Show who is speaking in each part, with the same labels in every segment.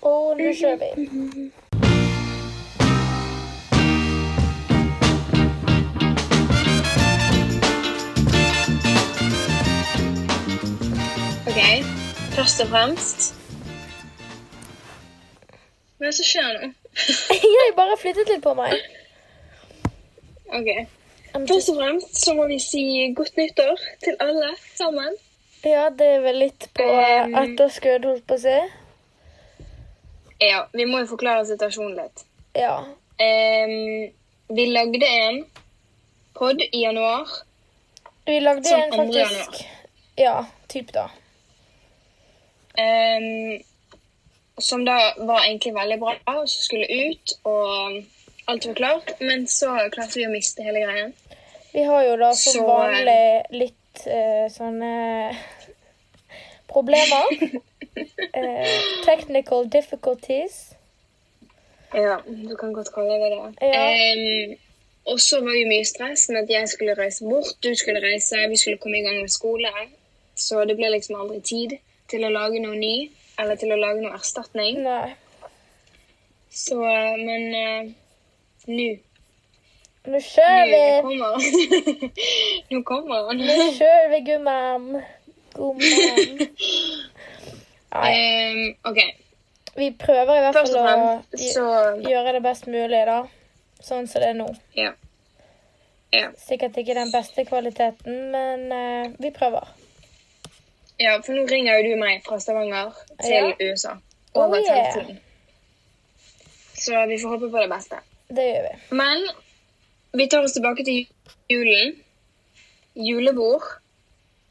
Speaker 1: Och nu kör vi.
Speaker 2: Mhm. Okej, först och främst. Men så kör nu.
Speaker 1: Jeg bare flyttet litt på meg.
Speaker 2: Okej.
Speaker 1: I'm
Speaker 2: Først
Speaker 1: just-
Speaker 2: og fremst så må vi si godt nyttår til alle sammen.
Speaker 1: Ja, det er vel litt på
Speaker 2: Um.
Speaker 1: etterskudd, holdt på å si.
Speaker 2: Ja, vi må jo forklare situasjonen litt.
Speaker 1: Ja.
Speaker 2: Ehm, vi lagde en pod i januar.
Speaker 1: Vi lagde
Speaker 2: Som
Speaker 1: en
Speaker 2: andre
Speaker 1: faktisk Ja, typ da.
Speaker 2: ehm, som da var egentlig veldig bra, og som skulle ut, og alt var klart. Men så klarte vi å miste hele greien.
Speaker 1: Vi har jo da som
Speaker 2: Så, eh,
Speaker 1: vanlig litt eh, sånne problemer. Eh, technical difficulties.
Speaker 2: Ja, du kan godt kalle det det.
Speaker 1: Ja.
Speaker 2: Ehm, og så var det jo mye stress med at jeg skulle reise bort, du skulle reise, vi skulle komme i gang med skole. Så det ble liksom aldri tid til å lage noe ny, eller til å lage noe erstatning.
Speaker 1: Nei.
Speaker 2: Så, eh, men eh, nå,
Speaker 1: Nå kjører
Speaker 2: nå
Speaker 1: vi!
Speaker 2: kommer han. nå kommer han.
Speaker 1: Nå kjører vi, gummen. Gummen. Nei,
Speaker 2: Ehm, ok,
Speaker 1: vi prøver i hvert
Speaker 2: først
Speaker 1: fall å
Speaker 2: og fremst,
Speaker 1: gj-
Speaker 2: så,
Speaker 1: gjøre det best mulig, da. Sånn som det er nå.
Speaker 2: ja. Ja.
Speaker 1: Sikkert ikke den beste kvaliteten, men eh, vi prøver.
Speaker 2: Ja, for nå ringer jo du meg fra Stavanger til USA.
Speaker 1: Oh,
Speaker 2: Over
Speaker 1: yeah.
Speaker 2: telttiden. Så vi får håpe på det beste.
Speaker 1: Det gjør vi.
Speaker 2: Men vi tar oss tilbake til julen. Julebord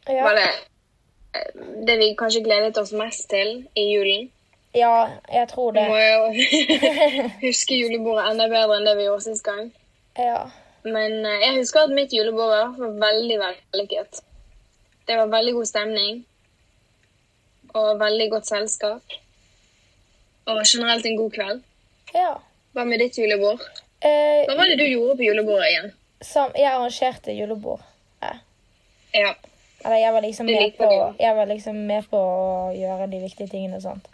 Speaker 1: Ja.
Speaker 2: var det eh, det vi kanskje gledet oss mest til i julen.
Speaker 1: ja, jeg tror
Speaker 2: Vi
Speaker 1: det.
Speaker 2: må jo huske julebordet enda bedre enn det vi gjorde sist gang.
Speaker 1: Ja.
Speaker 2: Men eh, jeg husker at mitt julebord i hvert fall var veldig vellykket. Det var veldig god stemning. Og veldig godt selskap. Og generelt en god kveld.
Speaker 1: ja.
Speaker 2: Hva med ditt julebord?
Speaker 1: Eh,
Speaker 2: Hva var det du gjorde på julebordet igjen?
Speaker 1: sam, jeg arrangerte julebord. Eh,
Speaker 2: Ja.
Speaker 1: Eller jeg var, liksom
Speaker 2: Det
Speaker 1: med
Speaker 2: liker
Speaker 1: på,
Speaker 2: du.
Speaker 1: jeg var liksom med på å gjøre de viktige tingene og sånt.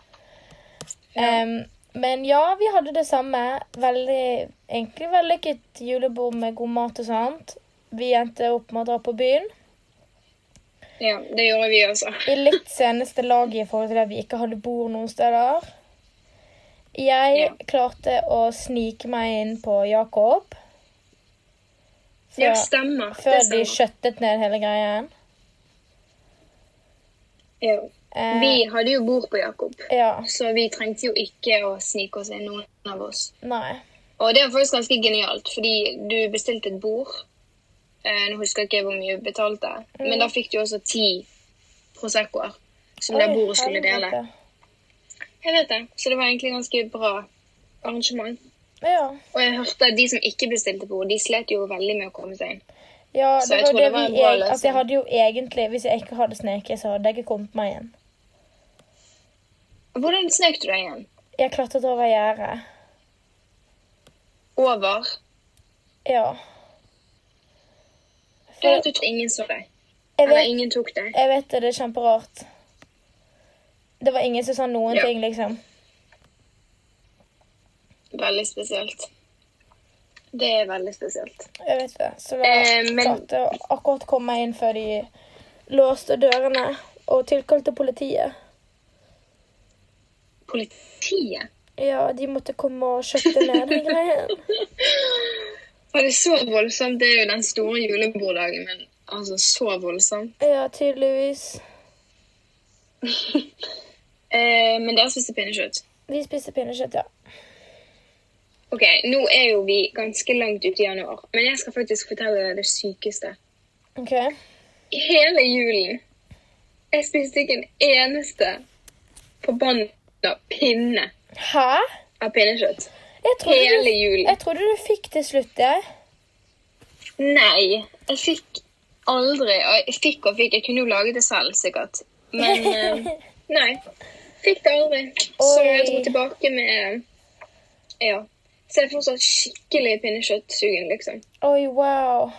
Speaker 1: Em, men ja, vi hadde det samme. Veldig, egentlig vellykket julebord med god mat og sånt. Vi endte opp med å dra på byen.
Speaker 2: ja, det gjorde vi også.
Speaker 1: I litt seneste laget i forhold til at vi ikke hadde bord noen steder. Jeg
Speaker 2: Ja.
Speaker 1: klarte å snike meg inn på Jakob.
Speaker 2: Ja,
Speaker 1: Før,
Speaker 2: stemmer.
Speaker 1: før
Speaker 2: Det
Speaker 1: de
Speaker 2: stemmer.
Speaker 1: skjøttet ned hele greien.
Speaker 2: Ja.
Speaker 1: Eh,
Speaker 2: Vi hadde jo bord på Jakob,
Speaker 1: Ja.
Speaker 2: så vi trengte jo ikke å snike oss inn, noen av oss.
Speaker 1: Nei.
Speaker 2: Og det var faktisk ganske genialt, fordi du bestilte et bord. Eh, nå husker jeg ikke hvor mye vi betalte, men
Speaker 1: Mm.
Speaker 2: da fikk du også ti Proseccoer som det
Speaker 1: Oi,
Speaker 2: bordet skulle
Speaker 1: helvete.
Speaker 2: dele. Jeg vet det, så det var egentlig ganske bra arrangement.
Speaker 1: Ja.
Speaker 2: Og jeg hørte at de som ikke bestilte bord, de slet jo veldig med å komme seg inn.
Speaker 1: ja
Speaker 2: Så
Speaker 1: det
Speaker 2: jeg
Speaker 1: var
Speaker 2: tror
Speaker 1: det
Speaker 2: det var en
Speaker 1: vi
Speaker 2: bra
Speaker 1: jeg, altså,
Speaker 2: løsning.
Speaker 1: jeg hadde jo egentlig, Hvis jeg ikke hadde sneket, så hadde jeg ikke kommet meg igjen.
Speaker 2: Hvordan snek du deg igjen?
Speaker 1: Jeg klatret over gjerdet.
Speaker 2: Over?
Speaker 1: Ja.
Speaker 2: Du vet, du tror ingen så deg.
Speaker 1: Jeg
Speaker 2: Eller
Speaker 1: vet,
Speaker 2: ingen tok deg.
Speaker 1: jeg vet det, det er kjemperart. Det var ingen som sa noen
Speaker 2: Ja.
Speaker 1: ting, liksom.
Speaker 2: Veldig spesielt. Det er veldig spesielt.
Speaker 1: Jeg vet det. Så da
Speaker 2: Eh, men-
Speaker 1: klarte jeg å akkurat komme meg inn før de låste dørene og tilkalte politiet.
Speaker 2: Politiet?
Speaker 1: Ja, de måtte komme og skjøtte ned den greien.
Speaker 2: Var det så voldsomt? Det er jo den store juleborddagen, men altså så voldsomt.
Speaker 1: Ja, tydeligvis.
Speaker 2: Eh, men dere spiste pinnekjøtt.
Speaker 1: Vi spiste pinnekjøtt, ja.
Speaker 2: Ok, nå er jo vi ganske langt ute i januar, men jeg skal faktisk fortelle deg det sykeste.
Speaker 1: OK.
Speaker 2: I hele julen Jeg spiste ikke en eneste forbanna pinne
Speaker 1: Hæ?
Speaker 2: av pinnekjøtt.
Speaker 1: Jeg trodde,
Speaker 2: Hele
Speaker 1: du,
Speaker 2: julen.
Speaker 1: jeg trodde du fikk til slutt, jeg.
Speaker 2: Nei, jeg fikk aldri og Jeg fikk og fikk. Jeg kunne jo lage det selv, sikkert. Men eh, nei. Fikk det aldri. Så
Speaker 1: Oi.
Speaker 2: jeg dro tilbake med Ja. Så jeg er fortsatt skikkelig pinnekjøttsugen, liksom.
Speaker 1: Oi, wow.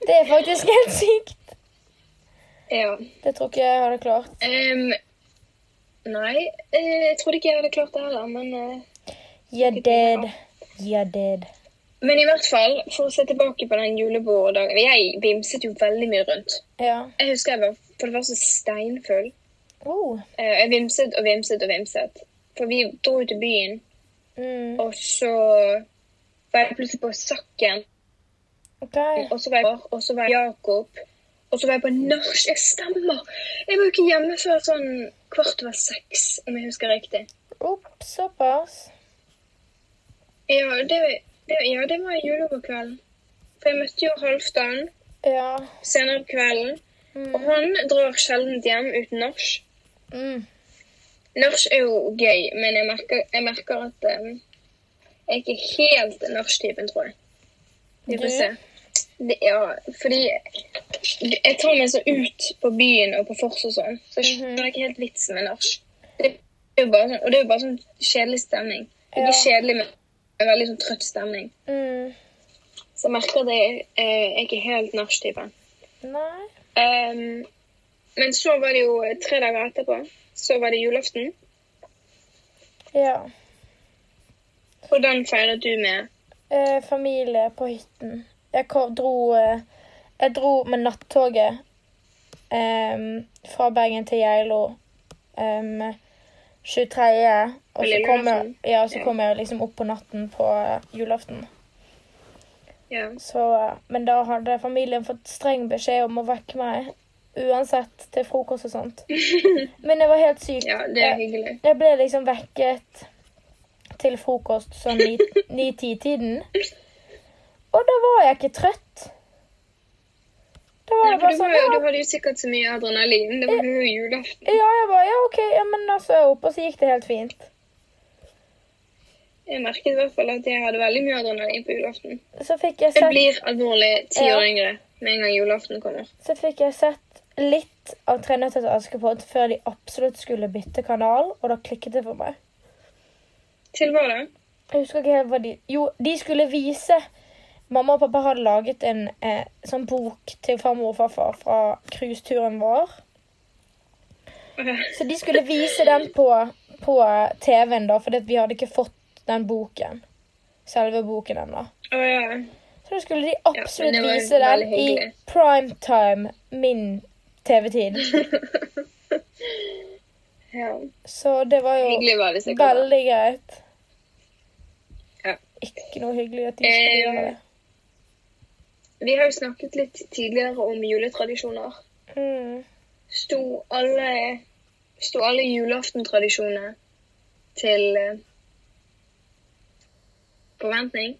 Speaker 1: Det er faktisk helt sykt.
Speaker 2: Ja.
Speaker 1: Det tror ikke jeg hadde klart.
Speaker 2: Ehm, Nei, eh, jeg trodde ikke jeg hadde klart det heller, men eh,
Speaker 1: You're dead. You're dead.
Speaker 2: Men i hvert fall, for å se tilbake på den juleborddagen Jeg vimset jo veldig mye rundt.
Speaker 1: Ja.
Speaker 2: Jeg husker jeg var for det første steinfull.
Speaker 1: Oh.
Speaker 2: Eh, Jeg vimset og vimset og vimset. For vi dro ut til byen,
Speaker 1: Mm.
Speaker 2: og så var jeg plutselig på Sakken.
Speaker 1: OK.
Speaker 2: Og så var jeg og så var jeg Jakob. Og så var jeg på nach. Jeg stemmer! Jeg var jo ikke hjemme før sånn kvart over seks, om jeg husker riktig.
Speaker 1: Opp, såpass.
Speaker 2: Ja, det, det, ja, det var julebordkvelden. For jeg møtte jo Halvdan
Speaker 1: Ja.
Speaker 2: senere på kvelden. Og
Speaker 1: Mm.
Speaker 2: han drar sjelden hjem uten nach.
Speaker 1: Mm.
Speaker 2: Nach er jo gøy, men jeg merker, jeg merker at eh, jeg er ikke helt nach-typen, tror jeg. Vi
Speaker 1: Du?
Speaker 2: får se. Det, ja, fordi jeg tar meg så ut på byen og på Fors og sånn, så jeg
Speaker 1: Mhm.
Speaker 2: skjønner ikke helt vitsen med nach. Det er jo bare sånn, og det er jo bare sånn kjedelig stemning. Det er ikke
Speaker 1: Ja.
Speaker 2: kjedelig, men en veldig sånn trøtt stemning.
Speaker 1: Mm.
Speaker 2: Så jeg merker at jeg, eh, jeg er ikke helt nach-typen.
Speaker 1: Nei.
Speaker 2: Ehm, men så var det jo eh, tre dager etterpå, så var det julaften.
Speaker 1: Ja.
Speaker 2: Og den feiret du med
Speaker 1: Eh, familie på hytten. Jeg kom, dro eh, Jeg dro med nattoget em, fra Bergen til Geilo em, 23. Og så
Speaker 2: Lille
Speaker 1: kom jeg,
Speaker 2: julaften.
Speaker 1: ja, så
Speaker 2: Ja.
Speaker 1: kom jeg liksom opp på natten på eh, julaften.
Speaker 2: Ja.
Speaker 1: Så, eh, men da hadde familien fått streng beskjed om å vekke meg uansett til frokost og sånt. Men det var helt sykt.
Speaker 2: ja, det er hyggelig.
Speaker 1: Jeg ble liksom vekket til frokost sånn i 9-10-tiden. Og da var jeg ikke trøtt. Da var
Speaker 2: Ja,
Speaker 1: jeg
Speaker 2: for
Speaker 1: bare
Speaker 2: du,
Speaker 1: sånn
Speaker 2: var, jo-
Speaker 1: ja,
Speaker 2: du hadde jo sikkert så mye adrenalin. Det var jo julaften.
Speaker 1: ja, jeg bare, ja, OK, ja, men da så jeg opp, og så gikk det helt fint.
Speaker 2: Jeg merket i hvert fall at jeg hadde veldig mye adrenalin på julaften.
Speaker 1: Så fikk jeg
Speaker 2: Jeg
Speaker 1: sett,
Speaker 2: blir alvorlig ti år
Speaker 1: Ja.
Speaker 2: yngre med en gang julaften kommer.
Speaker 1: så fikk jeg sett litt av Tre nøtter til Askepott før de absolutt skulle bytte kanal, og da klikket det for meg.
Speaker 2: Til hva da?
Speaker 1: Jeg husker ikke helt hva de Jo, de skulle vise Mamma og pappa hadde laget en eh, sånn bok til farmor og farfar fra cruiseturen vår. Så de skulle vise den på, på TV-en, da, fordi at vi hadde ikke fått den boken. Selve boken ennå.
Speaker 2: Å ja.
Speaker 1: Så da skulle de
Speaker 2: men
Speaker 1: absolutt
Speaker 2: det var
Speaker 1: vise den
Speaker 2: veldig
Speaker 1: i
Speaker 2: hyggelig.
Speaker 1: prime time, min TV-tid.
Speaker 2: ja.
Speaker 1: Så det var jo
Speaker 2: Hyggelig var det sikkert. da.
Speaker 1: veldig greit.
Speaker 2: Ja. Eh,
Speaker 1: Ikke noe hyggelig at de skulle gjøre det.
Speaker 2: Vi har jo snakket litt tidligere om juletradisjoner.
Speaker 1: Mm.
Speaker 2: Sto alle, sto alle julaftentradisjonene til eh, forventning?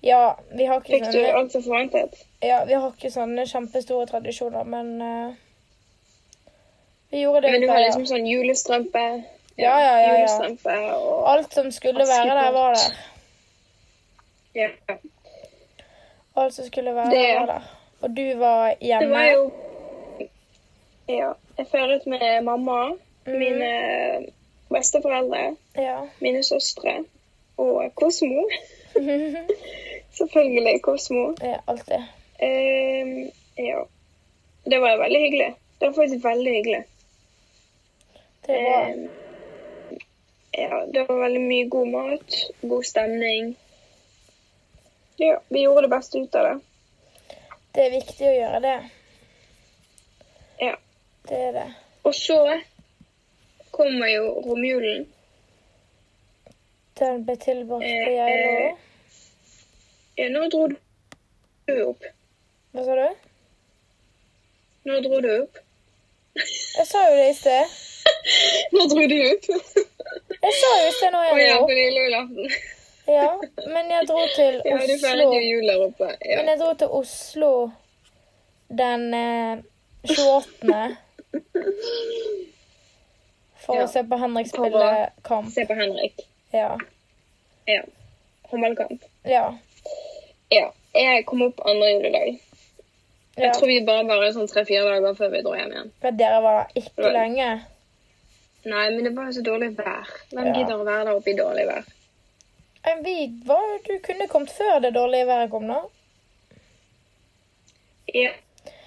Speaker 1: Ja, vi har ikke
Speaker 2: Fikk du
Speaker 1: sånne
Speaker 2: alt som forventet?
Speaker 1: Ja, vi har ikke sånne kjempestore tradisjoner, men eh, vi gjorde det
Speaker 2: Men
Speaker 1: vi
Speaker 2: du har
Speaker 1: pleide.
Speaker 2: liksom sånn julestrømpe
Speaker 1: Ja, ja, ja, ja.
Speaker 2: Julestrømpe og
Speaker 1: Alt som skulle være der, var der.
Speaker 2: ja.
Speaker 1: Alt som skulle være
Speaker 2: Det-
Speaker 1: der, var der. Og du var hjemme.
Speaker 2: Det var jo Ja. Jeg feiret med mamma,
Speaker 1: Mhm.
Speaker 2: mine besteforeldre,
Speaker 1: Ja.
Speaker 2: mine søstre og Kosmo. Selvfølgelig Kosmo.
Speaker 1: ja. Alltid.
Speaker 2: Ehm, ja. Det var veldig hyggelig. Det var faktisk veldig hyggelig.
Speaker 1: Det var
Speaker 2: Ehm, ja, det var veldig mye god mat, god stemning. Ja, vi gjorde det beste ut av det.
Speaker 1: Det er viktig å gjøre det.
Speaker 2: Ja.
Speaker 1: Det er det.
Speaker 2: Og så kommer jo romjulen.
Speaker 1: Den ble tilbrakt
Speaker 2: Eh,
Speaker 1: på Geilo.
Speaker 2: Ja, nå dro du opp.
Speaker 1: Hva sa du?
Speaker 2: Nå dro du opp.
Speaker 1: Jeg sa jo det i sted.
Speaker 2: Nå dro du opp.
Speaker 1: Jeg sa jo i sted når
Speaker 2: Å
Speaker 1: jeg
Speaker 2: ja,
Speaker 1: dro
Speaker 2: på
Speaker 1: opp.
Speaker 2: lille julaften.
Speaker 1: Ja, men jeg dro til
Speaker 2: Ja, du
Speaker 1: Oslo.
Speaker 2: feiret jo jul der oppe.
Speaker 1: Men
Speaker 2: Ja.
Speaker 1: jeg dro til Oslo den eh, 28. For
Speaker 2: Ja.
Speaker 1: å se på Henrik
Speaker 2: På hva?
Speaker 1: spille kamp.
Speaker 2: Se på Henrik.
Speaker 1: Ja.
Speaker 2: Ja. Håndballkamp.
Speaker 1: ja.
Speaker 2: Ja. Jeg kom opp andre juledag.
Speaker 1: ja.
Speaker 2: Jeg tror vi bare var her sånn tre-fire dager før vi dro hjem igjen.
Speaker 1: Men dere var der ikke
Speaker 2: Vel.
Speaker 1: lenge.
Speaker 2: Nei, men det var jo så dårlig vær. Hvem
Speaker 1: Ja.
Speaker 2: gidder å være der oppe i dårlig vær?
Speaker 1: Men vi var jo Du kunne kommet før det dårlige været kom, da.
Speaker 2: Ja.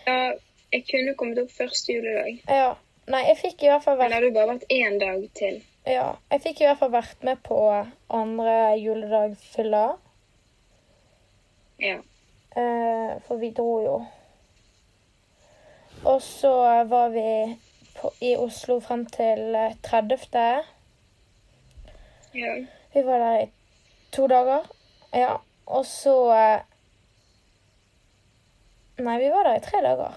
Speaker 2: ja. Jeg kunne kommet opp første juledag.
Speaker 1: Ja. Nei, jeg fikk i hvert fall vært
Speaker 2: Eller har du bare vært én dag til?
Speaker 1: Ja, jeg fikk i hvert fall vært med på andre juledagfylla.
Speaker 2: Ja.
Speaker 1: Eh, for vi dro jo. Og så var vi på, i Oslo frem til eh, 30.
Speaker 2: ja.
Speaker 1: Vi var der i to dager. Ja, og så eh, Nei, vi var der i tre dager.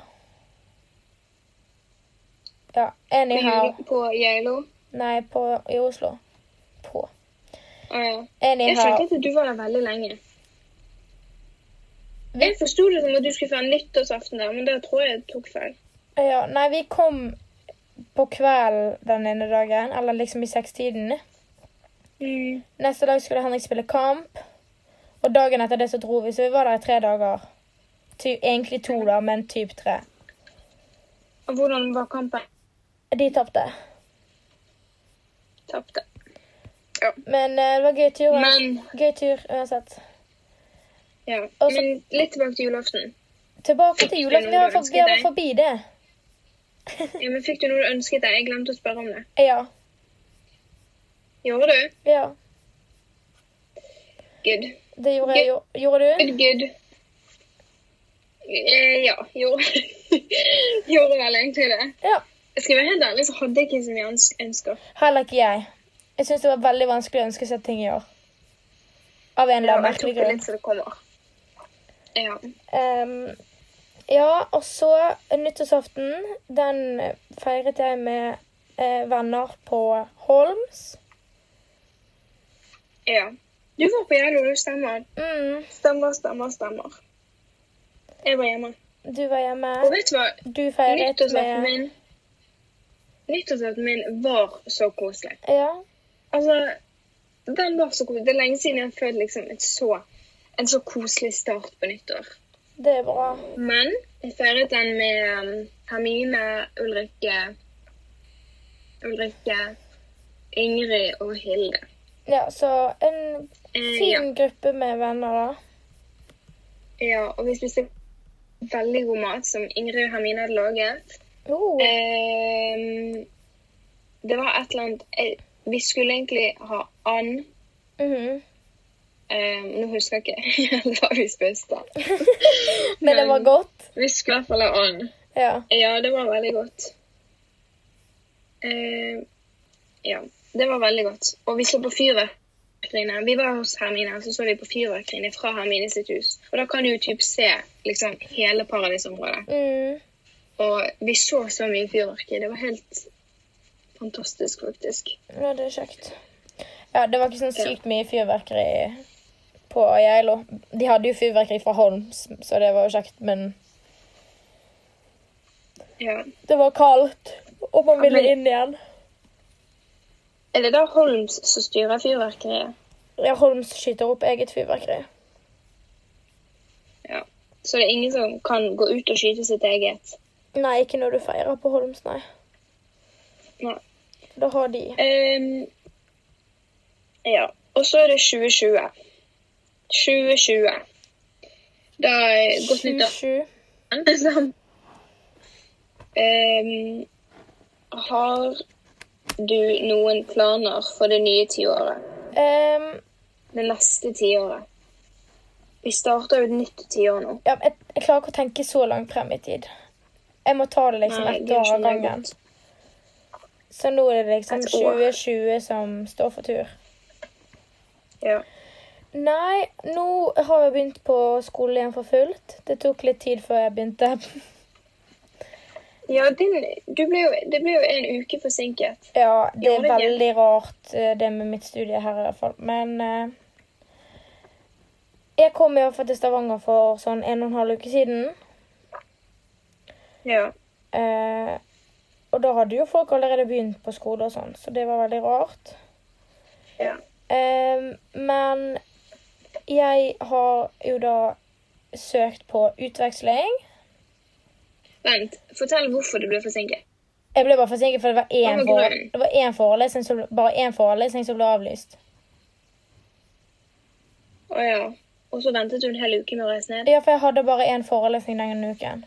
Speaker 1: Ja,
Speaker 2: Men
Speaker 1: anyhow.
Speaker 2: jul- På Geilo?
Speaker 1: Nei, på, i Oslo. På.
Speaker 2: Å ja. Jeg
Speaker 1: Anyhow.
Speaker 2: skjønte at du var der veldig lenge. Jeg forsto det som at du skulle feire nyttårsaften der, men det tror jeg jeg tok feil.
Speaker 1: Ja, nei, vi kom på kvelden den ene dagen, eller liksom i sekstiden.
Speaker 2: Mm.
Speaker 1: Neste dag skulle Henrik spille kamp, og dagen etter det så dro vi, så vi var der i tre dager. Ty, egentlig to, da, men typ tre.
Speaker 2: Og hvordan var kampen?
Speaker 1: De tapte.
Speaker 2: Tapte.
Speaker 1: Men eh, det var gøy tur, uans-
Speaker 2: Men
Speaker 1: gøy tur uansett.
Speaker 2: ja.
Speaker 1: Og så-
Speaker 2: Men litt tilbake til julaften.
Speaker 1: Tilbake til julaften. Vi har for- Vi har vært forbi det.
Speaker 2: Ja, men Fikk du noe du ønsket deg? Jeg glemte å spørre om det.
Speaker 1: Ja.
Speaker 2: Gjorde du?
Speaker 1: ja.
Speaker 2: Good.
Speaker 1: Det gjorde jeg. Jo- Gjorde du?
Speaker 2: Good, good. Eh, ja, gjorde, gjorde vel egentlig det.
Speaker 1: Ja.
Speaker 2: Jeg skal være helt ærlig, så hadde jeg ikke så mye øns- ønsker.
Speaker 1: Heller ikke jeg. Jeg syns det var veldig vanskelig å ønske seg ting i år. Av en eller annen
Speaker 2: Jeg
Speaker 1: merkelig
Speaker 2: tok det
Speaker 1: grunn.
Speaker 2: litt så det kommer. Ja.
Speaker 1: Ehm, ja, og så nyttårsaften, den feiret jeg med eh, venner på Holms.
Speaker 2: ja. Du var på Geilo, du stemmer.
Speaker 1: Mm,
Speaker 2: Stemmer, stemmer, stemmer. Jeg var hjemme.
Speaker 1: du var hjemme.
Speaker 2: Og vet du hva?
Speaker 1: Du feiret
Speaker 2: Nyttårsaften
Speaker 1: med
Speaker 2: min Nyttårsaften min var så koselig.
Speaker 1: Ja.
Speaker 2: Altså, den var så koselig. Det er lenge siden jeg har følt liksom et så, en så koselig start på nyttår.
Speaker 1: Det er bra.
Speaker 2: Men jeg feiret den med um, Hermine, Ulrikke Ulrikke, Ingrid og Hilde.
Speaker 1: Ja, så en
Speaker 2: Eh, ja.
Speaker 1: fin gruppe med venner, da.
Speaker 2: ja, og vi spiste veldig god mat som Ingrid og Hermine hadde laget.
Speaker 1: Oh,
Speaker 2: Eh. Ehm, det var et eller annet eh, Vi skulle egentlig ha and.
Speaker 1: mhm.
Speaker 2: Ehm, nå husker jeg ikke helt hva vi spiste.
Speaker 1: Men det var
Speaker 2: men-
Speaker 1: godt.
Speaker 2: Vi skulle i hvert fall ha and.
Speaker 1: Ja.
Speaker 2: Ja, det var veldig godt. Eh, ja, det var veldig godt. Og vi så på fyrverkeriene. Vi var hos Hermine, og så så vi på fyrverkeriene fra Hermine sitt hus. Og da kan du jo typ se liksom, hele paradisområdet.
Speaker 1: Mm.
Speaker 2: Og vi så så mye fyrverkeri. Det var helt fantastisk, faktisk.
Speaker 1: Ja, det er kjekt. Ja, det var ikke sånn sykt mye fyrverkeri på Geilo. De hadde jo fyrverkeri fra Holms, så det var jo kjekt, men
Speaker 2: Ja.
Speaker 1: Det var kaldt, og man ville
Speaker 2: Ja, men-
Speaker 1: inn igjen.
Speaker 2: Er det da Holms som styrer fyrverkeriet?
Speaker 1: Ja, Holms skyter opp eget fyrverkeri.
Speaker 2: Ja. Så det er ingen som kan gå ut og skyte sitt eget?
Speaker 1: Nei, ikke når du feirer på Holms, nei.
Speaker 2: Nei.
Speaker 1: Da har de
Speaker 2: Ehm, ja. Og så er det 2020. 2020. Da er Godt nyttår.
Speaker 1: 27.
Speaker 2: Sam. Ehm, har du noen planer for det nye tiåret?
Speaker 1: Ehm,
Speaker 2: Det neste tiåret? Vi starter jo et nytt tiår nå.
Speaker 1: ja, jeg, jeg klarer ikke å tenke så langt frem i tid. Jeg må ta det liksom
Speaker 2: Nei,
Speaker 1: ett
Speaker 2: det
Speaker 1: år av
Speaker 2: skjønner jeg
Speaker 1: gangen.
Speaker 2: godt.
Speaker 1: Så nå er det liksom
Speaker 2: Et år.
Speaker 1: 2020 som står for tur.
Speaker 2: Ja.
Speaker 1: Nei, nå har jeg begynt på skole igjen for fullt. Det tok litt tid før jeg begynte.
Speaker 2: Ja, din, du ble jo, det ble jo en uke forsinket.
Speaker 1: Ja, det er
Speaker 2: Gjorde det.
Speaker 1: veldig rart eh, det med mitt studie her i hvert fall. Men eh, jeg kom i hvert fall til Stavanger for sånn en og en halv uke siden.
Speaker 2: Ja.
Speaker 1: Eh, og da hadde jo folk allerede begynt på skole og sånn, så det var veldig rart.
Speaker 2: ja.
Speaker 1: Eh, men jeg har jo da søkt på utveksling.
Speaker 2: Vent, fortell hvorfor du ble forsinket.
Speaker 1: Jeg ble bare forsinket, for det var én,
Speaker 2: Hva var
Speaker 1: fore
Speaker 2: grunnen?
Speaker 1: det var én forelesning som, bare én forelesning som ble avlyst.
Speaker 2: Å ja. Og så ventet du en hel uke med å reise ned?
Speaker 1: Ja, for jeg hadde bare én forelesning denne uken.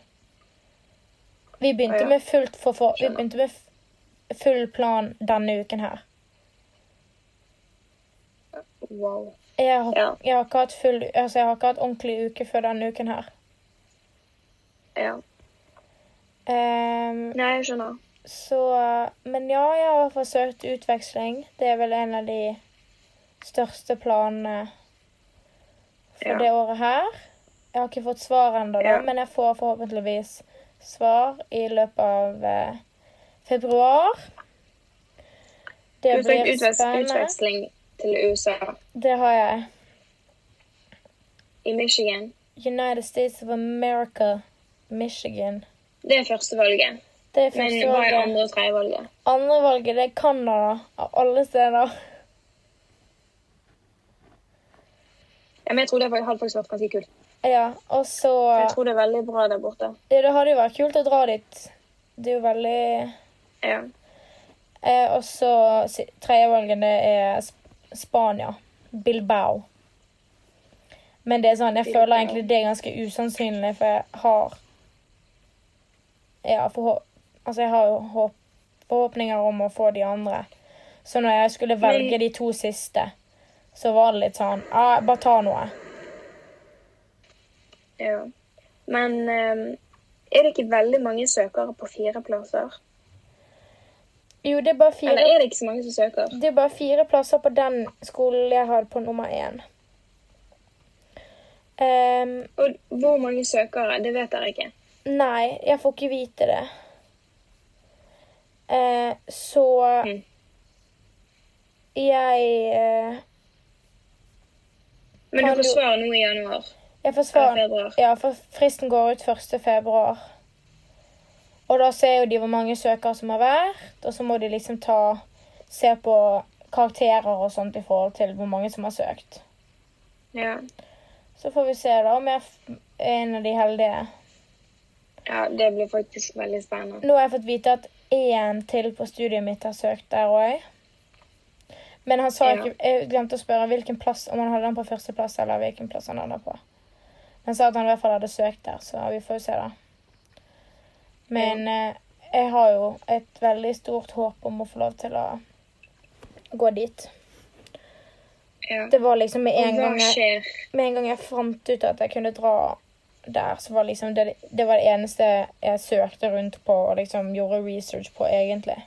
Speaker 1: Vi begynte
Speaker 2: Å, ja.
Speaker 1: med fullt for, for vi
Speaker 2: Skjønner.
Speaker 1: begynte med f- full plan denne uken her.
Speaker 2: Wow.
Speaker 1: Jeg har,
Speaker 2: Ja.
Speaker 1: jeg har ikke hatt full Altså, jeg har ikke hatt ordentlig uke før denne uken her.
Speaker 2: Ja.
Speaker 1: Ehm,
Speaker 2: Nei, jeg skjønner.
Speaker 1: så Men ja, jeg har forsøkt utveksling. Det er vel en av de største planene for
Speaker 2: Ja.
Speaker 1: det året her. Jeg har ikke fått svar ennå, da,
Speaker 2: Ja.
Speaker 1: men jeg får forhåpentligvis svar i løpet av eh, februar. Det
Speaker 2: Du fikk
Speaker 1: blir
Speaker 2: utveks
Speaker 1: spennende.
Speaker 2: utveksling til USA,
Speaker 1: Det har jeg.
Speaker 2: i Michigan.
Speaker 1: United States of America, Michigan.
Speaker 2: Det er førstevalget.
Speaker 1: Det er
Speaker 2: Men
Speaker 1: første
Speaker 2: hva er
Speaker 1: valget.
Speaker 2: andre- og tredjevalget?
Speaker 1: Andre valget det er Canada, av alle steder.
Speaker 2: Ja, men jeg tror det hadde faktisk vært ganske kult.
Speaker 1: Ja, og så
Speaker 2: Jeg tror det er veldig bra der borte.
Speaker 1: Ja, det hadde jo vært kult å dra dit. Det er jo veldig
Speaker 2: Ja.
Speaker 1: eh, Og så si- tredje valget det er Sp- Spania. Bilbao. Men det er sånn, jeg føler
Speaker 2: Bilbao.
Speaker 1: egentlig det er ganske usannsynlig, for jeg har Ja, forhå- altså jeg har jo håp, forhåpninger om å få de andre. Så når jeg skulle velge
Speaker 2: Men-
Speaker 1: de to siste, så var det litt sånn ah, Bare ta noe.
Speaker 2: ja. Men eh, er det ikke veldig mange søkere på fire plasser?
Speaker 1: Jo, det er bare fire
Speaker 2: Eller er det ikke så mange som søker?
Speaker 1: Det er bare fire plasser på den skolen jeg har på nummer én. Ehm,
Speaker 2: Og hvor mange søkere, det vet jeg ikke.
Speaker 1: nei, jeg får ikke vite det. Eh, så
Speaker 2: Mm.
Speaker 1: jeg eh,
Speaker 2: Men
Speaker 1: Kan
Speaker 2: du
Speaker 1: du-
Speaker 2: får svar nå i januar.
Speaker 1: Jeg
Speaker 2: Eller
Speaker 1: forsvarer
Speaker 2: februar.
Speaker 1: Ja, for fristen går ut 1. februar. Og da ser jo de hvor mange søkere som har vært, og så må de liksom ta Se på karakterer og sånt i forhold til hvor mange som har søkt.
Speaker 2: Ja.
Speaker 1: Så får vi se da om jeg f- er en av de heldige.
Speaker 2: ja, det blir faktisk veldig spennende.
Speaker 1: Nå har jeg fått vite at én til på studiet mitt har søkt der òg. Men han sa
Speaker 2: Ja.
Speaker 1: ikke, jeg glemte å spørre hvilken plass, om han hadde den på førsteplass eller hvilken plass han hadde den på. Han sa at han i hvert fall hadde søkt der, så vi får jo se, da. Men eh, jeg har jo et veldig stort håp om å få lov til å gå dit.
Speaker 2: Ja.
Speaker 1: Det var liksom med en
Speaker 2: Og hva
Speaker 1: gang jeg,
Speaker 2: skjer?
Speaker 1: med en gang jeg fant ut at jeg kunne dra der, så var liksom det, det var det eneste jeg søkte rundt på og liksom gjorde research på, egentlig.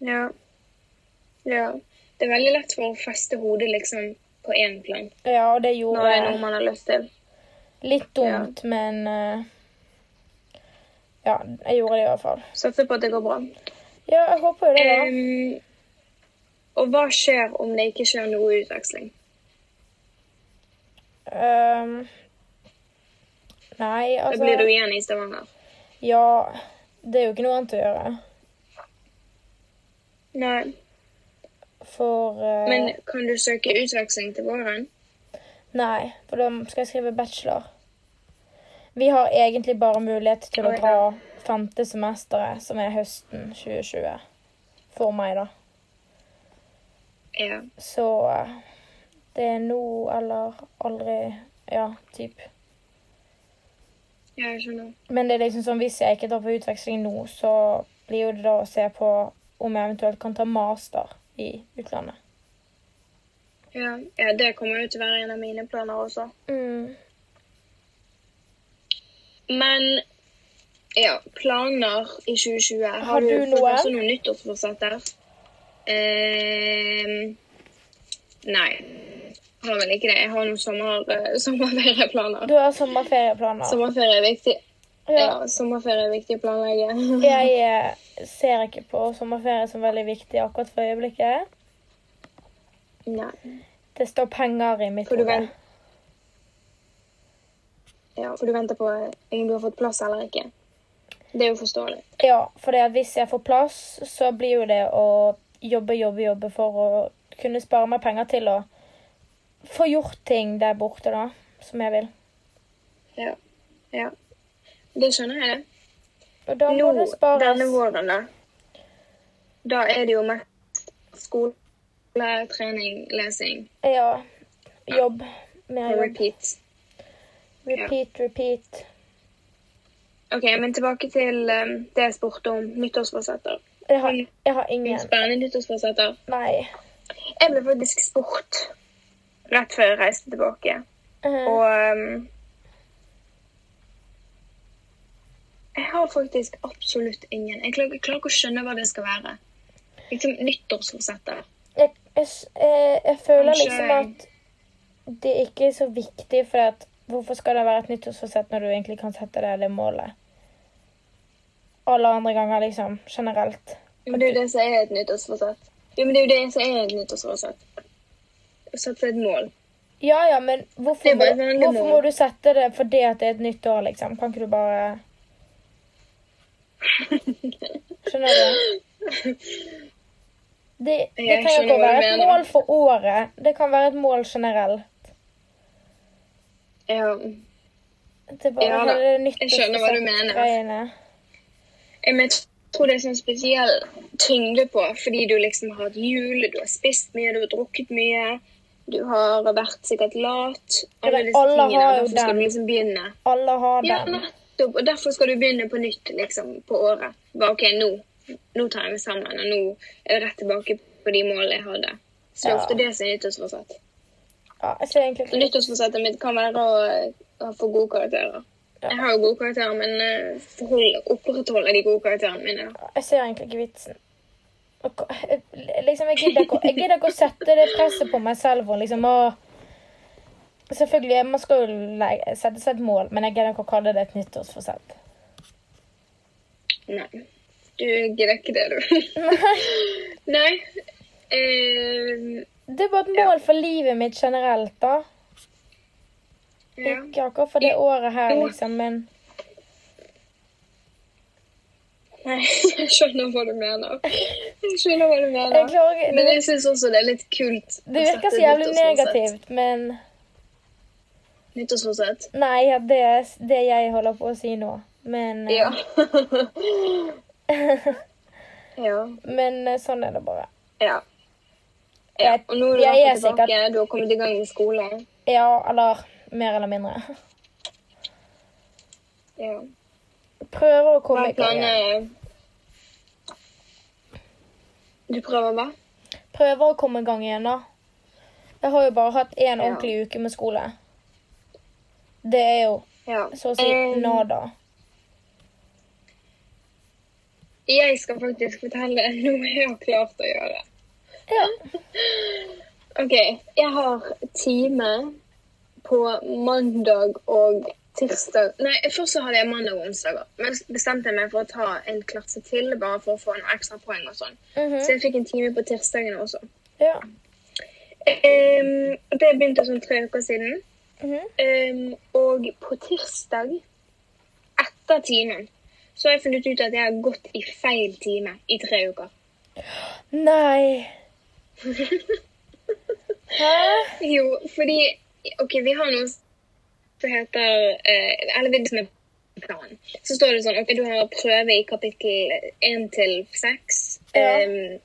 Speaker 2: Ja. ja. Det er veldig lett for å feste hodet liksom på én plan.
Speaker 1: Ja, og det gjorde
Speaker 2: Når det er
Speaker 1: jeg.
Speaker 2: noe man har lyst til.
Speaker 1: Litt dumt, men eh, Ja, jeg gjorde det i hvert fall.
Speaker 2: Satser på at det går bra.
Speaker 1: Ja, jeg håper jo det,
Speaker 2: Um,
Speaker 1: da.
Speaker 2: Em, og hva skjer om det ikke skjer noe utveksling?
Speaker 1: Ehm, nei,
Speaker 2: Da blir du
Speaker 1: altså
Speaker 2: igjen i Stavanger.
Speaker 1: Ja, det er jo ikke noe annet å gjøre.
Speaker 2: Nei.
Speaker 1: For eh,
Speaker 2: Men kan du søke utveksling til våren?
Speaker 1: Nei, for da skal jeg skrive bachelor. Vi har egentlig bare mulighet til å
Speaker 2: Å, ja.
Speaker 1: dra femte semesteret, som er høsten 2020. For meg, da.
Speaker 2: Ja.
Speaker 1: Så eh, det er nå eller aldri. Ja, typ.
Speaker 2: Ja, jeg skjønner.
Speaker 1: Men det er liksom sånn, hvis jeg ikke drar på utveksling nå, så blir jo det da å se på om jeg eventuelt kan ta master i utlandet.
Speaker 2: Ja, ja det kommer jo til å være en av mine planer også.
Speaker 1: Mm.
Speaker 2: Men ja, planer i 2020. Har,
Speaker 1: Har du
Speaker 2: fått
Speaker 1: noe?
Speaker 2: også noen nyttårsforsett der? Ehm, nei. Har vel ikke det. Jeg har noen sommer, eh, sommerferieplaner.
Speaker 1: Du har sommerferieplaner.
Speaker 2: Sommerferie er viktig.
Speaker 1: Ja.
Speaker 2: Ja, sommerferie er viktig å planlegge.
Speaker 1: Jeg eh, ser ikke på sommerferie som veldig viktig akkurat for øyeblikket.
Speaker 2: Nei.
Speaker 1: Det står penger i mitt
Speaker 2: For du,
Speaker 1: hode.
Speaker 2: vent... ja, for du venter på eh, om du har fått plass eller ikke. Det er jo forståelig.
Speaker 1: Ja, for det at hvis jeg får plass, så blir jo det å jobbe, jobbe, jobbe for å kunne spare meg penger til å få gjort ting der borte, da, som jeg vil.
Speaker 2: Ja. ja. Det skjønner jeg, det.
Speaker 1: Og da må
Speaker 2: Nå,
Speaker 1: det spares.
Speaker 2: denne våren, da, da er det jo mest skole, trening, lesing
Speaker 1: Ja. Jobb. Mer
Speaker 2: og
Speaker 1: jobb.
Speaker 2: repeat.
Speaker 1: Repeat, repeat.
Speaker 2: um, Ok, men tilbake til eh, det jeg spurte om, nyttårsforsetter.
Speaker 1: Jeg har, jeg har ingen.
Speaker 2: Spennende nyttårsforsetter.
Speaker 1: Nei.
Speaker 2: Jeg ble faktisk spurt rett før jeg reiste tilbake.
Speaker 1: Eh,
Speaker 2: Og ehm, Jeg har faktisk absolutt ingen. Jeg klarer, jeg klarer ikke å skjønne hva det skal være. Liksom nyttårsforsetter.
Speaker 1: Jeg, jeg, s- eh, jeg føler
Speaker 2: Kanskje-
Speaker 1: liksom at det ikke er så viktig, for at hvorfor skal det være et nyttårsforsett når du egentlig kan sette deg det målet? Alle andre ganger, liksom. Generelt.
Speaker 2: Men det er jo det som er et nyttårsforsett. Jo, men det er jo det som er et nyttårsforsett. Å sette seg et mål.
Speaker 1: Ja ja, men hvorfor,
Speaker 2: Det er
Speaker 1: må,
Speaker 2: bare et vanlig
Speaker 1: hvorfor
Speaker 2: mål.
Speaker 1: må du sette det fordi at det er et nytt år, liksom? Kan ikke du bare Skjønner du? Det, det
Speaker 2: Jeg
Speaker 1: trenger ikke
Speaker 2: skjønner
Speaker 1: å
Speaker 2: hva du
Speaker 1: være et
Speaker 2: mener.
Speaker 1: mål for året. Det kan være et mål generelt.
Speaker 2: Ja.
Speaker 1: Det er bare
Speaker 2: Ja da,
Speaker 1: hele
Speaker 2: jeg skjønner hva du mener.
Speaker 1: nyttårsforsett-greiene.
Speaker 2: Jeg men, jeg tror det er sånn spesiell tyngde på, fordi du liksom har hatt jul, du har spist mye, du har drukket mye, du har vært sikkert lat.
Speaker 1: Ja, men alle har jo
Speaker 2: Derfor skal
Speaker 1: den.
Speaker 2: du liksom begynne.
Speaker 1: Alle har
Speaker 2: Ja,
Speaker 1: den.
Speaker 2: nettopp. Og derfor skal du begynne på nytt liksom, på året. Bare OK, nå, nå tar jeg meg sammen, og nå er det rett tilbake på de målene jeg hadde. Så det er
Speaker 1: Ja.
Speaker 2: ofte det som er nyttårsforsett.
Speaker 1: Ja, jeg ser egentlig ikke
Speaker 2: Nyttårsforsettet mitt kan være å, eh, å få gode karakterer.
Speaker 1: Ja.
Speaker 2: Jeg har jo gode karakterer, men eh, forhold- opprettholde de gode karakterene mine. da.
Speaker 1: Jeg ser egentlig ikke vitsen. Og hva- jeg- Liksom, jeg gidder ikke, å- jeg gidder ikke å sette det presset på meg selv. Og liksom, å, selvfølgelig, man skal jo le- sette seg et mål, men jeg gidder ikke å kalle det et nyttårsforsett.
Speaker 2: Nei. Du gidder ikke det, du. Nei. Eh,
Speaker 1: Det er bare et mål for livet mitt generelt, da.
Speaker 2: ja.
Speaker 1: Ikke akkurat for det året her, liksom, men
Speaker 2: Nei, jeg skjønner hva du mener. Jeg skjønner hva du mener.
Speaker 1: jeg klarer ikke
Speaker 2: Men
Speaker 1: det-
Speaker 2: jeg syns også det er litt kult. å
Speaker 1: Det virker
Speaker 2: sette
Speaker 1: så jævlig
Speaker 2: nyttårsforsett.
Speaker 1: negativt, men
Speaker 2: Nyttårsforsett?
Speaker 1: Nei, ja, det er s- det jeg holder på å si nå. Men, eh,
Speaker 2: Ja. ja.
Speaker 1: men eh, sånn er det bare.
Speaker 2: Ja. ja. Og nå er du
Speaker 1: Jeg
Speaker 2: i hvert
Speaker 1: er
Speaker 2: fall tilbake, du har kommet i gang med skolen.
Speaker 1: Ja, eller mer eller mindre.
Speaker 2: Ja.
Speaker 1: Prøver å
Speaker 2: Hva
Speaker 1: komme
Speaker 2: er
Speaker 1: i gang. igjen.
Speaker 2: planene Du prøver hva?
Speaker 1: Prøver å komme i gang igjen, da. Jeg har jo bare hatt én
Speaker 2: Ja.
Speaker 1: ordentlig uke med skole. Det er jo
Speaker 2: Ja.
Speaker 1: så å si
Speaker 2: Eh,
Speaker 1: nada.
Speaker 2: Jeg skal faktisk fortelle noe jeg har klart å gjøre.
Speaker 1: Ja.
Speaker 2: OK. Jeg har time på mandag og tirsdag Nei, først så hadde jeg mandag og onsdager. Men så bestemte jeg meg for å ta en klasse til bare for å få noen ekstra poeng og sånn.
Speaker 1: Mhm.
Speaker 2: Så jeg fikk en time på tirsdagene også.
Speaker 1: ja.
Speaker 2: Ehm, og det begynte sånn tre uker siden.
Speaker 1: Mhm.
Speaker 2: Ehm, og på tirsdag etter timen så har jeg funnet ut at jeg har gått i feil time i tre uker.
Speaker 1: Nei. Hæ?
Speaker 2: Jo, fordi OK, vi har noe som heter eh, Eller vi som er plan. Så står det sånn OK, du har prøve i kapittel 1 til 6
Speaker 1: Ja.
Speaker 2: eh,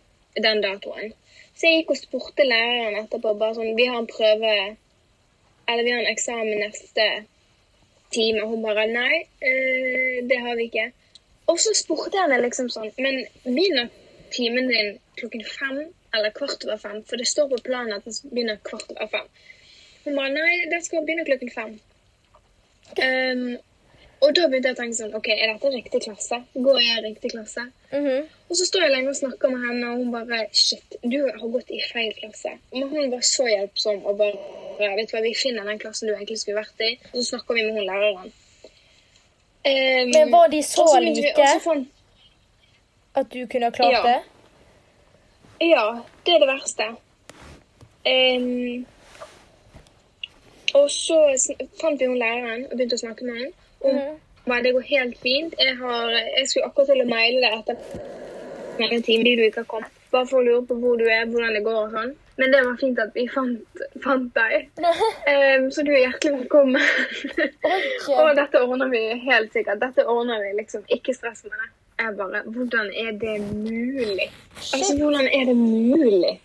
Speaker 2: den datoen. Så jeg gikk og spurte læreren etterpå bare sånn Vi har en prøve Eller vi har en eksamen neste time. Og hun bare Nei, eh, det har vi ikke. Og så spurte jeg henne liksom sånn Men begynner timen din klokken fem eller kvart over fem? For det står på planen at den begynner kvart over fem. Hun bare Nei, den skal begynne klokken fem. Ehm, og da begynte jeg å tenke sånn OK, er dette riktig klasse? Går jeg i riktig klasse?
Speaker 1: Mhm.
Speaker 2: Og så står jeg lenge og snakker med henne, og hun bare Shit, du har gått i feil klasse. Men hun var så hjelpsom og bare Vet du hva, vi finner den klassen du egentlig skulle vært i, og så snakker vi med hun læreren. Ehm,
Speaker 1: Men var de så
Speaker 2: og så begynte vi- og så
Speaker 1: like
Speaker 2: fant-
Speaker 1: at du kunne ha klart
Speaker 2: Ja.
Speaker 1: det?
Speaker 2: Ja, det er det verste. Ehm, og så sn- fant vi hun læreren og begynte å snakke med henne. Og hun
Speaker 1: Mhm.
Speaker 2: ba, det går helt fint. Jeg, har, jeg skulle akkurat til å maile deg etter mange timer fordi du ikke har kommet. Bare for å lure på hvor du er, hvordan det går og sånn. Men det var fint at vi fant, fant deg. Ehm, så du er hjertelig velkommen.
Speaker 1: Oi.
Speaker 2: og dette ordner vi helt sikkert. Dette ordner vi liksom. Ikke stress med det. Jeg bare, hvordan er det mulig? Altså, hvordan er det mulig?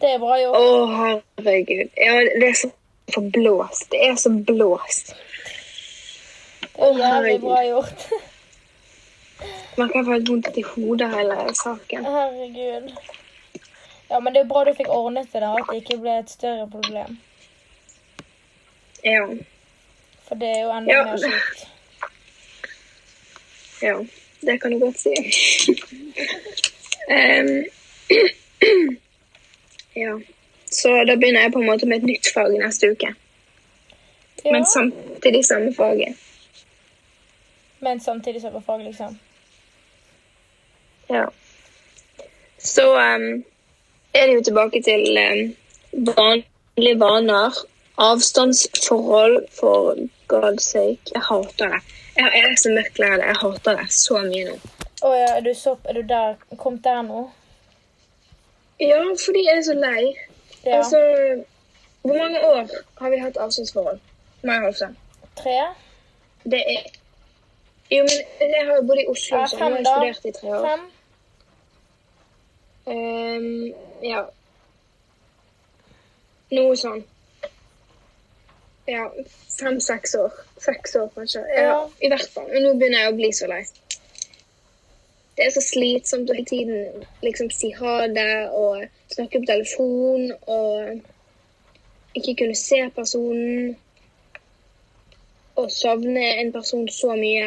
Speaker 1: Det er bra
Speaker 2: Å,
Speaker 1: gjort.
Speaker 2: herregud. Ja, det er så forblåst. Det er så blåst. Å,
Speaker 1: Jævlig
Speaker 2: herregud.
Speaker 1: bra gjort.
Speaker 2: merker jeg får helt vondt i hodet av hele saken.
Speaker 1: Herregud. Ja, men det er bra du fikk ordnet det, da. At det ikke ble et større problem.
Speaker 2: Ja.
Speaker 1: For det er jo enda
Speaker 2: Ja.
Speaker 1: mer kjipt.
Speaker 2: ja. Det kan du godt si. Em, ja. Så da begynner jeg på en måte med et nytt fag neste uke.
Speaker 1: Ja,
Speaker 2: Men samtidig samme faget.
Speaker 1: men samtidig så er det fag, liksom.
Speaker 2: Ja. Så em, er det jo tilbake til em, vanlige vaner, avstandsforhold, for god's sake. Jeg hater det. Jeg jeg er så møkklei av det. Jeg hater det så mye nå.
Speaker 1: Å ja, er du, så, er du der? Kom der nå?
Speaker 2: Ja, fordi jeg er så lei.
Speaker 1: Ja.
Speaker 2: Altså, hvor mange år har vi hatt avstandsforhold? Meg og Hofstad.
Speaker 1: Tre?
Speaker 2: Det er Jo, men jeg har jo bodd i Oslo,
Speaker 1: Ja,
Speaker 2: så nå har
Speaker 1: fem,
Speaker 2: jeg
Speaker 1: da.
Speaker 2: studert i tre år.
Speaker 1: Fem?
Speaker 2: Ehm, ja. Noe sånn. Ja, fem-seks år. Seks år, kanskje. Ja,
Speaker 1: Ja.
Speaker 2: I hvert fall. Men nå begynner jeg å bli så lei. Det er så slitsomt å hele tiden liksom si ha det og snakke på telefon og ikke kunne se personen. Og savne en person så mye.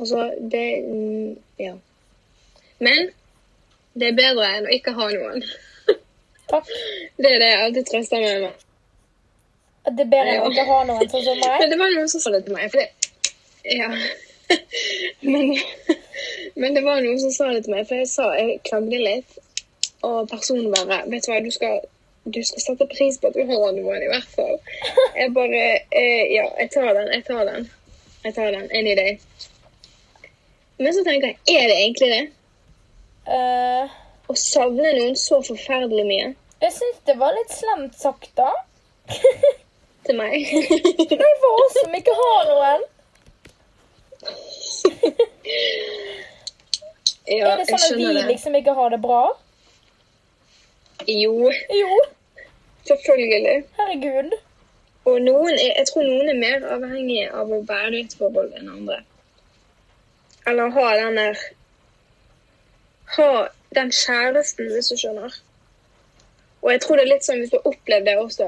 Speaker 2: Altså, det mm, Ja. Men det er bedre enn å ikke ha noen.
Speaker 1: Takk.
Speaker 2: Det er det jeg alltid trøster meg med.
Speaker 1: At Det er bedre enn å ikke ha noen sånn som meg.
Speaker 2: Men det var noen som sa det til meg. For det, ja. men, men det var noen som sa det til meg, for jeg sa jeg klagde litt. Og personen bare Vet du hva, du skal, du skal sette pris på at du har noen, i hvert fall. Jeg bare eh, Ja, jeg tar den, jeg tar den. Jeg tar den any day. Men så tenker jeg, er det egentlig det?
Speaker 1: Eh,
Speaker 2: Å savne noen så forferdelig mye
Speaker 1: jeg syns det var litt slemt sagt, da.
Speaker 2: til meg.
Speaker 1: Nei, for oss som ikke har noen.
Speaker 2: Ja,
Speaker 1: er det sånn at vi liksom ikke har det bra?
Speaker 2: Jo,
Speaker 1: Jo,
Speaker 2: selvfølgelig.
Speaker 1: herregud.
Speaker 2: Og noen er, jeg tror noen er mer avhengige av å være i et forhold enn andre. Eller ha den der Ha den kjæresten, hvis du skjønner. Og jeg tror det er litt sånn hvis du har opplevd det også,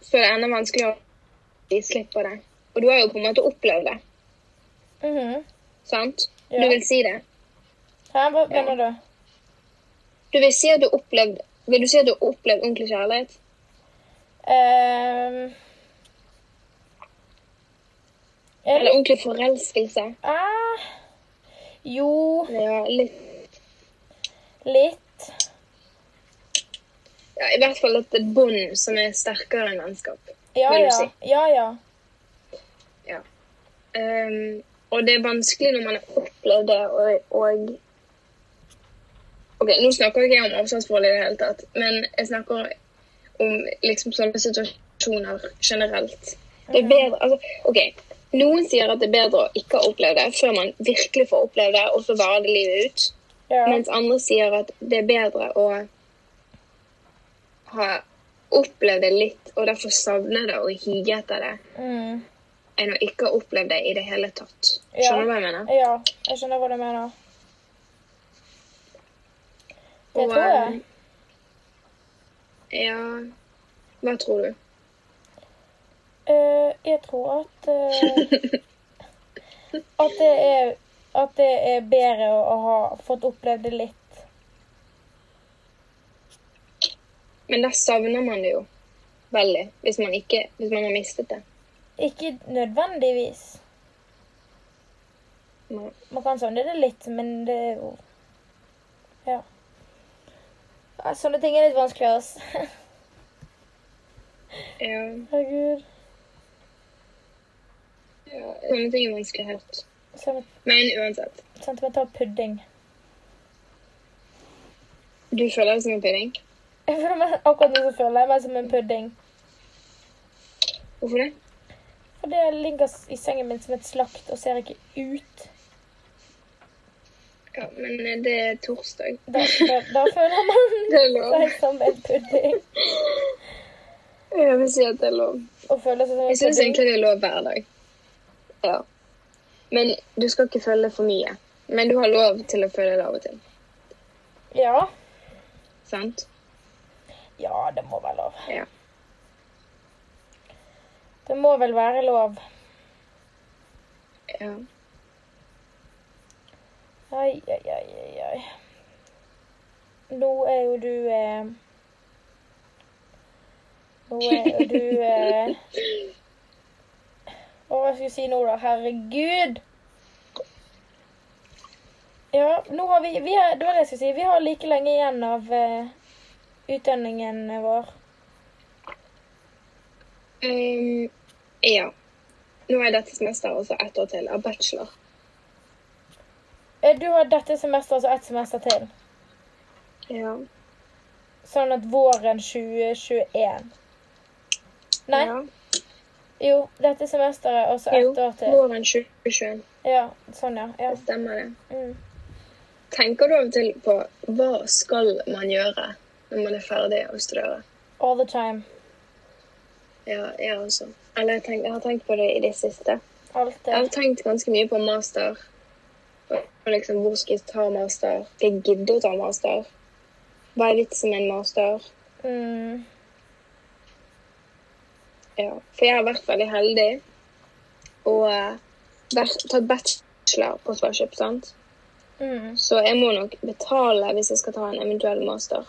Speaker 2: så er det enda vanskeligere å gi slipp på det. Og du har jo på en måte opplevd det,
Speaker 1: Mhm.
Speaker 2: sant?
Speaker 1: Ja.
Speaker 2: Du vil si det.
Speaker 1: Hæ, hva mener du?
Speaker 2: Du vil si at du har opplevd Vil du si at du har opplevd ordentlig kjærlighet?
Speaker 1: Ehm, er
Speaker 2: Eller
Speaker 1: det
Speaker 2: ordentlig forelskelse?
Speaker 1: ah, Jo,
Speaker 2: Ja, litt
Speaker 1: litt.
Speaker 2: ja, i hvert fall et bånd som er sterkere enn vennskap.
Speaker 1: Ja
Speaker 2: Vil du
Speaker 1: ja.
Speaker 2: si?
Speaker 1: ja ja.
Speaker 2: Ehm, og det er vanskelig når man har opplevd det og, og Ok, nå snakker ikke jeg om avstandsforhold i det hele tatt, men jeg snakker om liksom sånne situasjoner generelt. Det er bedre Altså, OK. Noen sier at det er bedre å ikke ha opplevd det før man virkelig får oppleve det, og så varer det livet ut.
Speaker 1: ja.
Speaker 2: Mens andre sier at det er bedre å ha opplevd det litt, og derfor savne det og hige etter det,
Speaker 1: Mm.
Speaker 2: enn å ikke ha opplevd det i det hele tatt.
Speaker 1: Ja.
Speaker 2: Skjønner du hva jeg mener?
Speaker 1: ja, jeg skjønner hva du mener. Det
Speaker 2: Og,
Speaker 1: tror jeg.
Speaker 2: Ja Hva tror du?
Speaker 1: Eh, jeg tror at eh, At det er At det er bedre å, å ha fått opplevd det litt.
Speaker 2: Men da savner man det jo veldig, hvis man, ikke, hvis man har mistet det.
Speaker 1: Ikke nødvendigvis.
Speaker 2: Man-
Speaker 1: Man kan savne det litt, men det er jo Ja. Ja, Sånne ting er litt vanskelig, ass.
Speaker 2: Ja,
Speaker 1: Herregud.
Speaker 2: ja, sånne ting er vanskelig helt.
Speaker 1: Sen-
Speaker 2: Men uansett,
Speaker 1: Sentimental pudding.
Speaker 2: du føler deg som en pudding.
Speaker 1: Jeg føler meg akkurat nå så føler jeg meg som en pudding.
Speaker 2: Hvorfor det?
Speaker 1: Fordi jeg ligger s- i sengen min som et slakt og ser ikke ut.
Speaker 2: Ja, men eh, det er torsdag.
Speaker 1: Da, da, da føler man
Speaker 2: Det er lov.
Speaker 1: seg som en pudding.
Speaker 2: Jeg vil si at det er lov.
Speaker 1: Og føler seg som en
Speaker 2: Jeg syns
Speaker 1: pudding.
Speaker 2: egentlig det er lov hver dag. Ja. Men du skal ikke føle for mye. Men du har lov til å føle det av og til.
Speaker 1: Ja.
Speaker 2: Sant?
Speaker 1: Ja, det må være lov.
Speaker 2: Ja.
Speaker 1: Det må vel være lov.
Speaker 2: ja.
Speaker 1: Ai, ai, ai, ai, ai. Nå er jo du eh... Nå er jo du eh... Hva var det jeg skulle si nå, da? Herregud! Ja, nå har vi, vi er, Det var det jeg skulle si. Vi har like lenge igjen av eh, utdanningen vår.
Speaker 2: Ehm, ja. Nå er dette semesteret også ett år til av bachelor.
Speaker 1: Eh, Du har dette semesteret, altså ett semester til.
Speaker 2: Ja.
Speaker 1: Sånn at våren 2021 Nei,
Speaker 2: Ja.
Speaker 1: jo. Dette semesteret, og så
Speaker 2: Jo,
Speaker 1: ett år til.
Speaker 2: våren 2021.
Speaker 1: Ja, sånn, ja. ja.
Speaker 2: Det stemmer det.
Speaker 1: Mm.
Speaker 2: Tenker du av og til på hva skal man gjøre når man er ferdig å studere?
Speaker 1: All the time.
Speaker 2: Ja, jeg også. Eller jeg, tenk, jeg har tenkt på det i det siste. Jeg har
Speaker 1: Alltid.
Speaker 2: tenkt ganske mye på master. Og og liksom, hvor skal jeg ta master? Skal jeg gidde å ta master? Hva er vitsen med en master?
Speaker 1: Mm.
Speaker 2: Ja. For jeg har vært veldig heldig og eh, vært, tatt bachelor på Sparkjøp, sant?
Speaker 1: Mm.
Speaker 2: Så jeg må nok betale hvis jeg skal ta en eventuell master.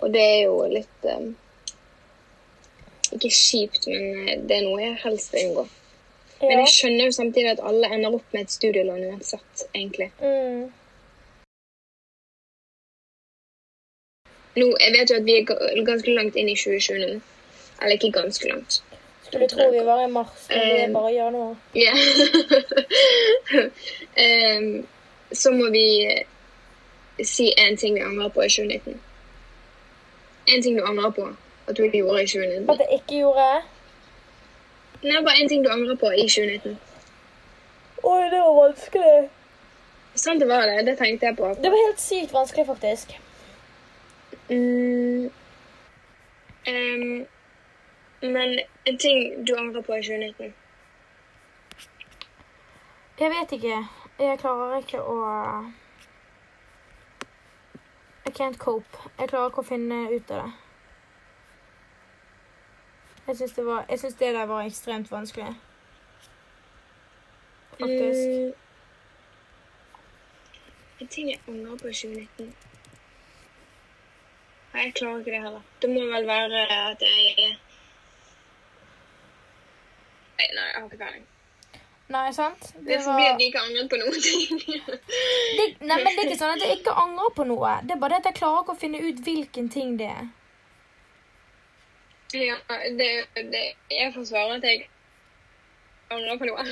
Speaker 2: Og det er jo litt eh, Ikke kjipt, men eh, det er noe jeg helst vil unngå. Men
Speaker 1: Ja.
Speaker 2: jeg skjønner jo samtidig at alle ender opp med et studielån uansett, egentlig.
Speaker 1: Mm.
Speaker 2: Nå, jeg vet jo at vi er ga- ganske langt inn i 2020 nå. Eller ikke ganske langt.
Speaker 1: Skulle tro vi var i mars, men vi er
Speaker 2: Eh.
Speaker 1: bare i januar.
Speaker 2: Ja. Em, så må vi eh, si én ting vi angrer på i 2019. Én ting du angrer på at du ikke gjorde i 2019.
Speaker 1: At jeg ikke gjorde
Speaker 2: Nei, bare én ting du angrer på i 2019.
Speaker 1: Oi, det var vanskelig.
Speaker 2: Sånn det var det. Det tenkte jeg på.
Speaker 1: Det var helt sykt vanskelig, faktisk.
Speaker 2: Mm. Em, men en ting du angrer på i 2019.
Speaker 1: Jeg vet ikke. Jeg klarer ikke å I can't cope. Jeg klarer ikke å finne ut av det. Jeg syns det, var- jeg syns det der var ekstremt vanskelig. Faktisk.
Speaker 2: Mm. En ting jeg angrer på i 2019 Nei, jeg klarer ikke det heller. Det må vel være at jeg Nei, nei jeg har ikke peiling.
Speaker 1: Nei, sant?
Speaker 2: Det
Speaker 1: Det
Speaker 2: er fordi
Speaker 1: var
Speaker 2: at vi ikke angret på noen ting.
Speaker 1: det, Nei, men det er ikke sånn at jeg ikke angrer på noe. Det er bare det at jeg klarer ikke å finne ut hvilken ting det er.
Speaker 2: ja, det, det, jeg får svare at jeg angrer på noe.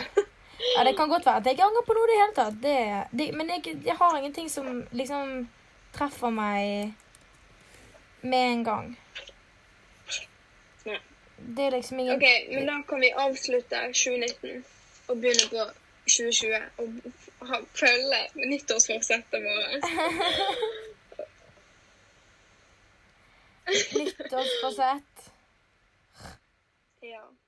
Speaker 1: Ja, Det kan godt være at jeg ikke angrer på noe i det hele tatt. Det, det, men jeg, jeg har ingenting som liksom treffer meg med en gang.
Speaker 2: Nei.
Speaker 1: Det er liksom ingen
Speaker 2: Ok, men da kan vi avslutte 2019 og begynne på 2020 og ha, følge nyttårsforsettene våre.
Speaker 1: nyttårsfasett.
Speaker 2: Ja.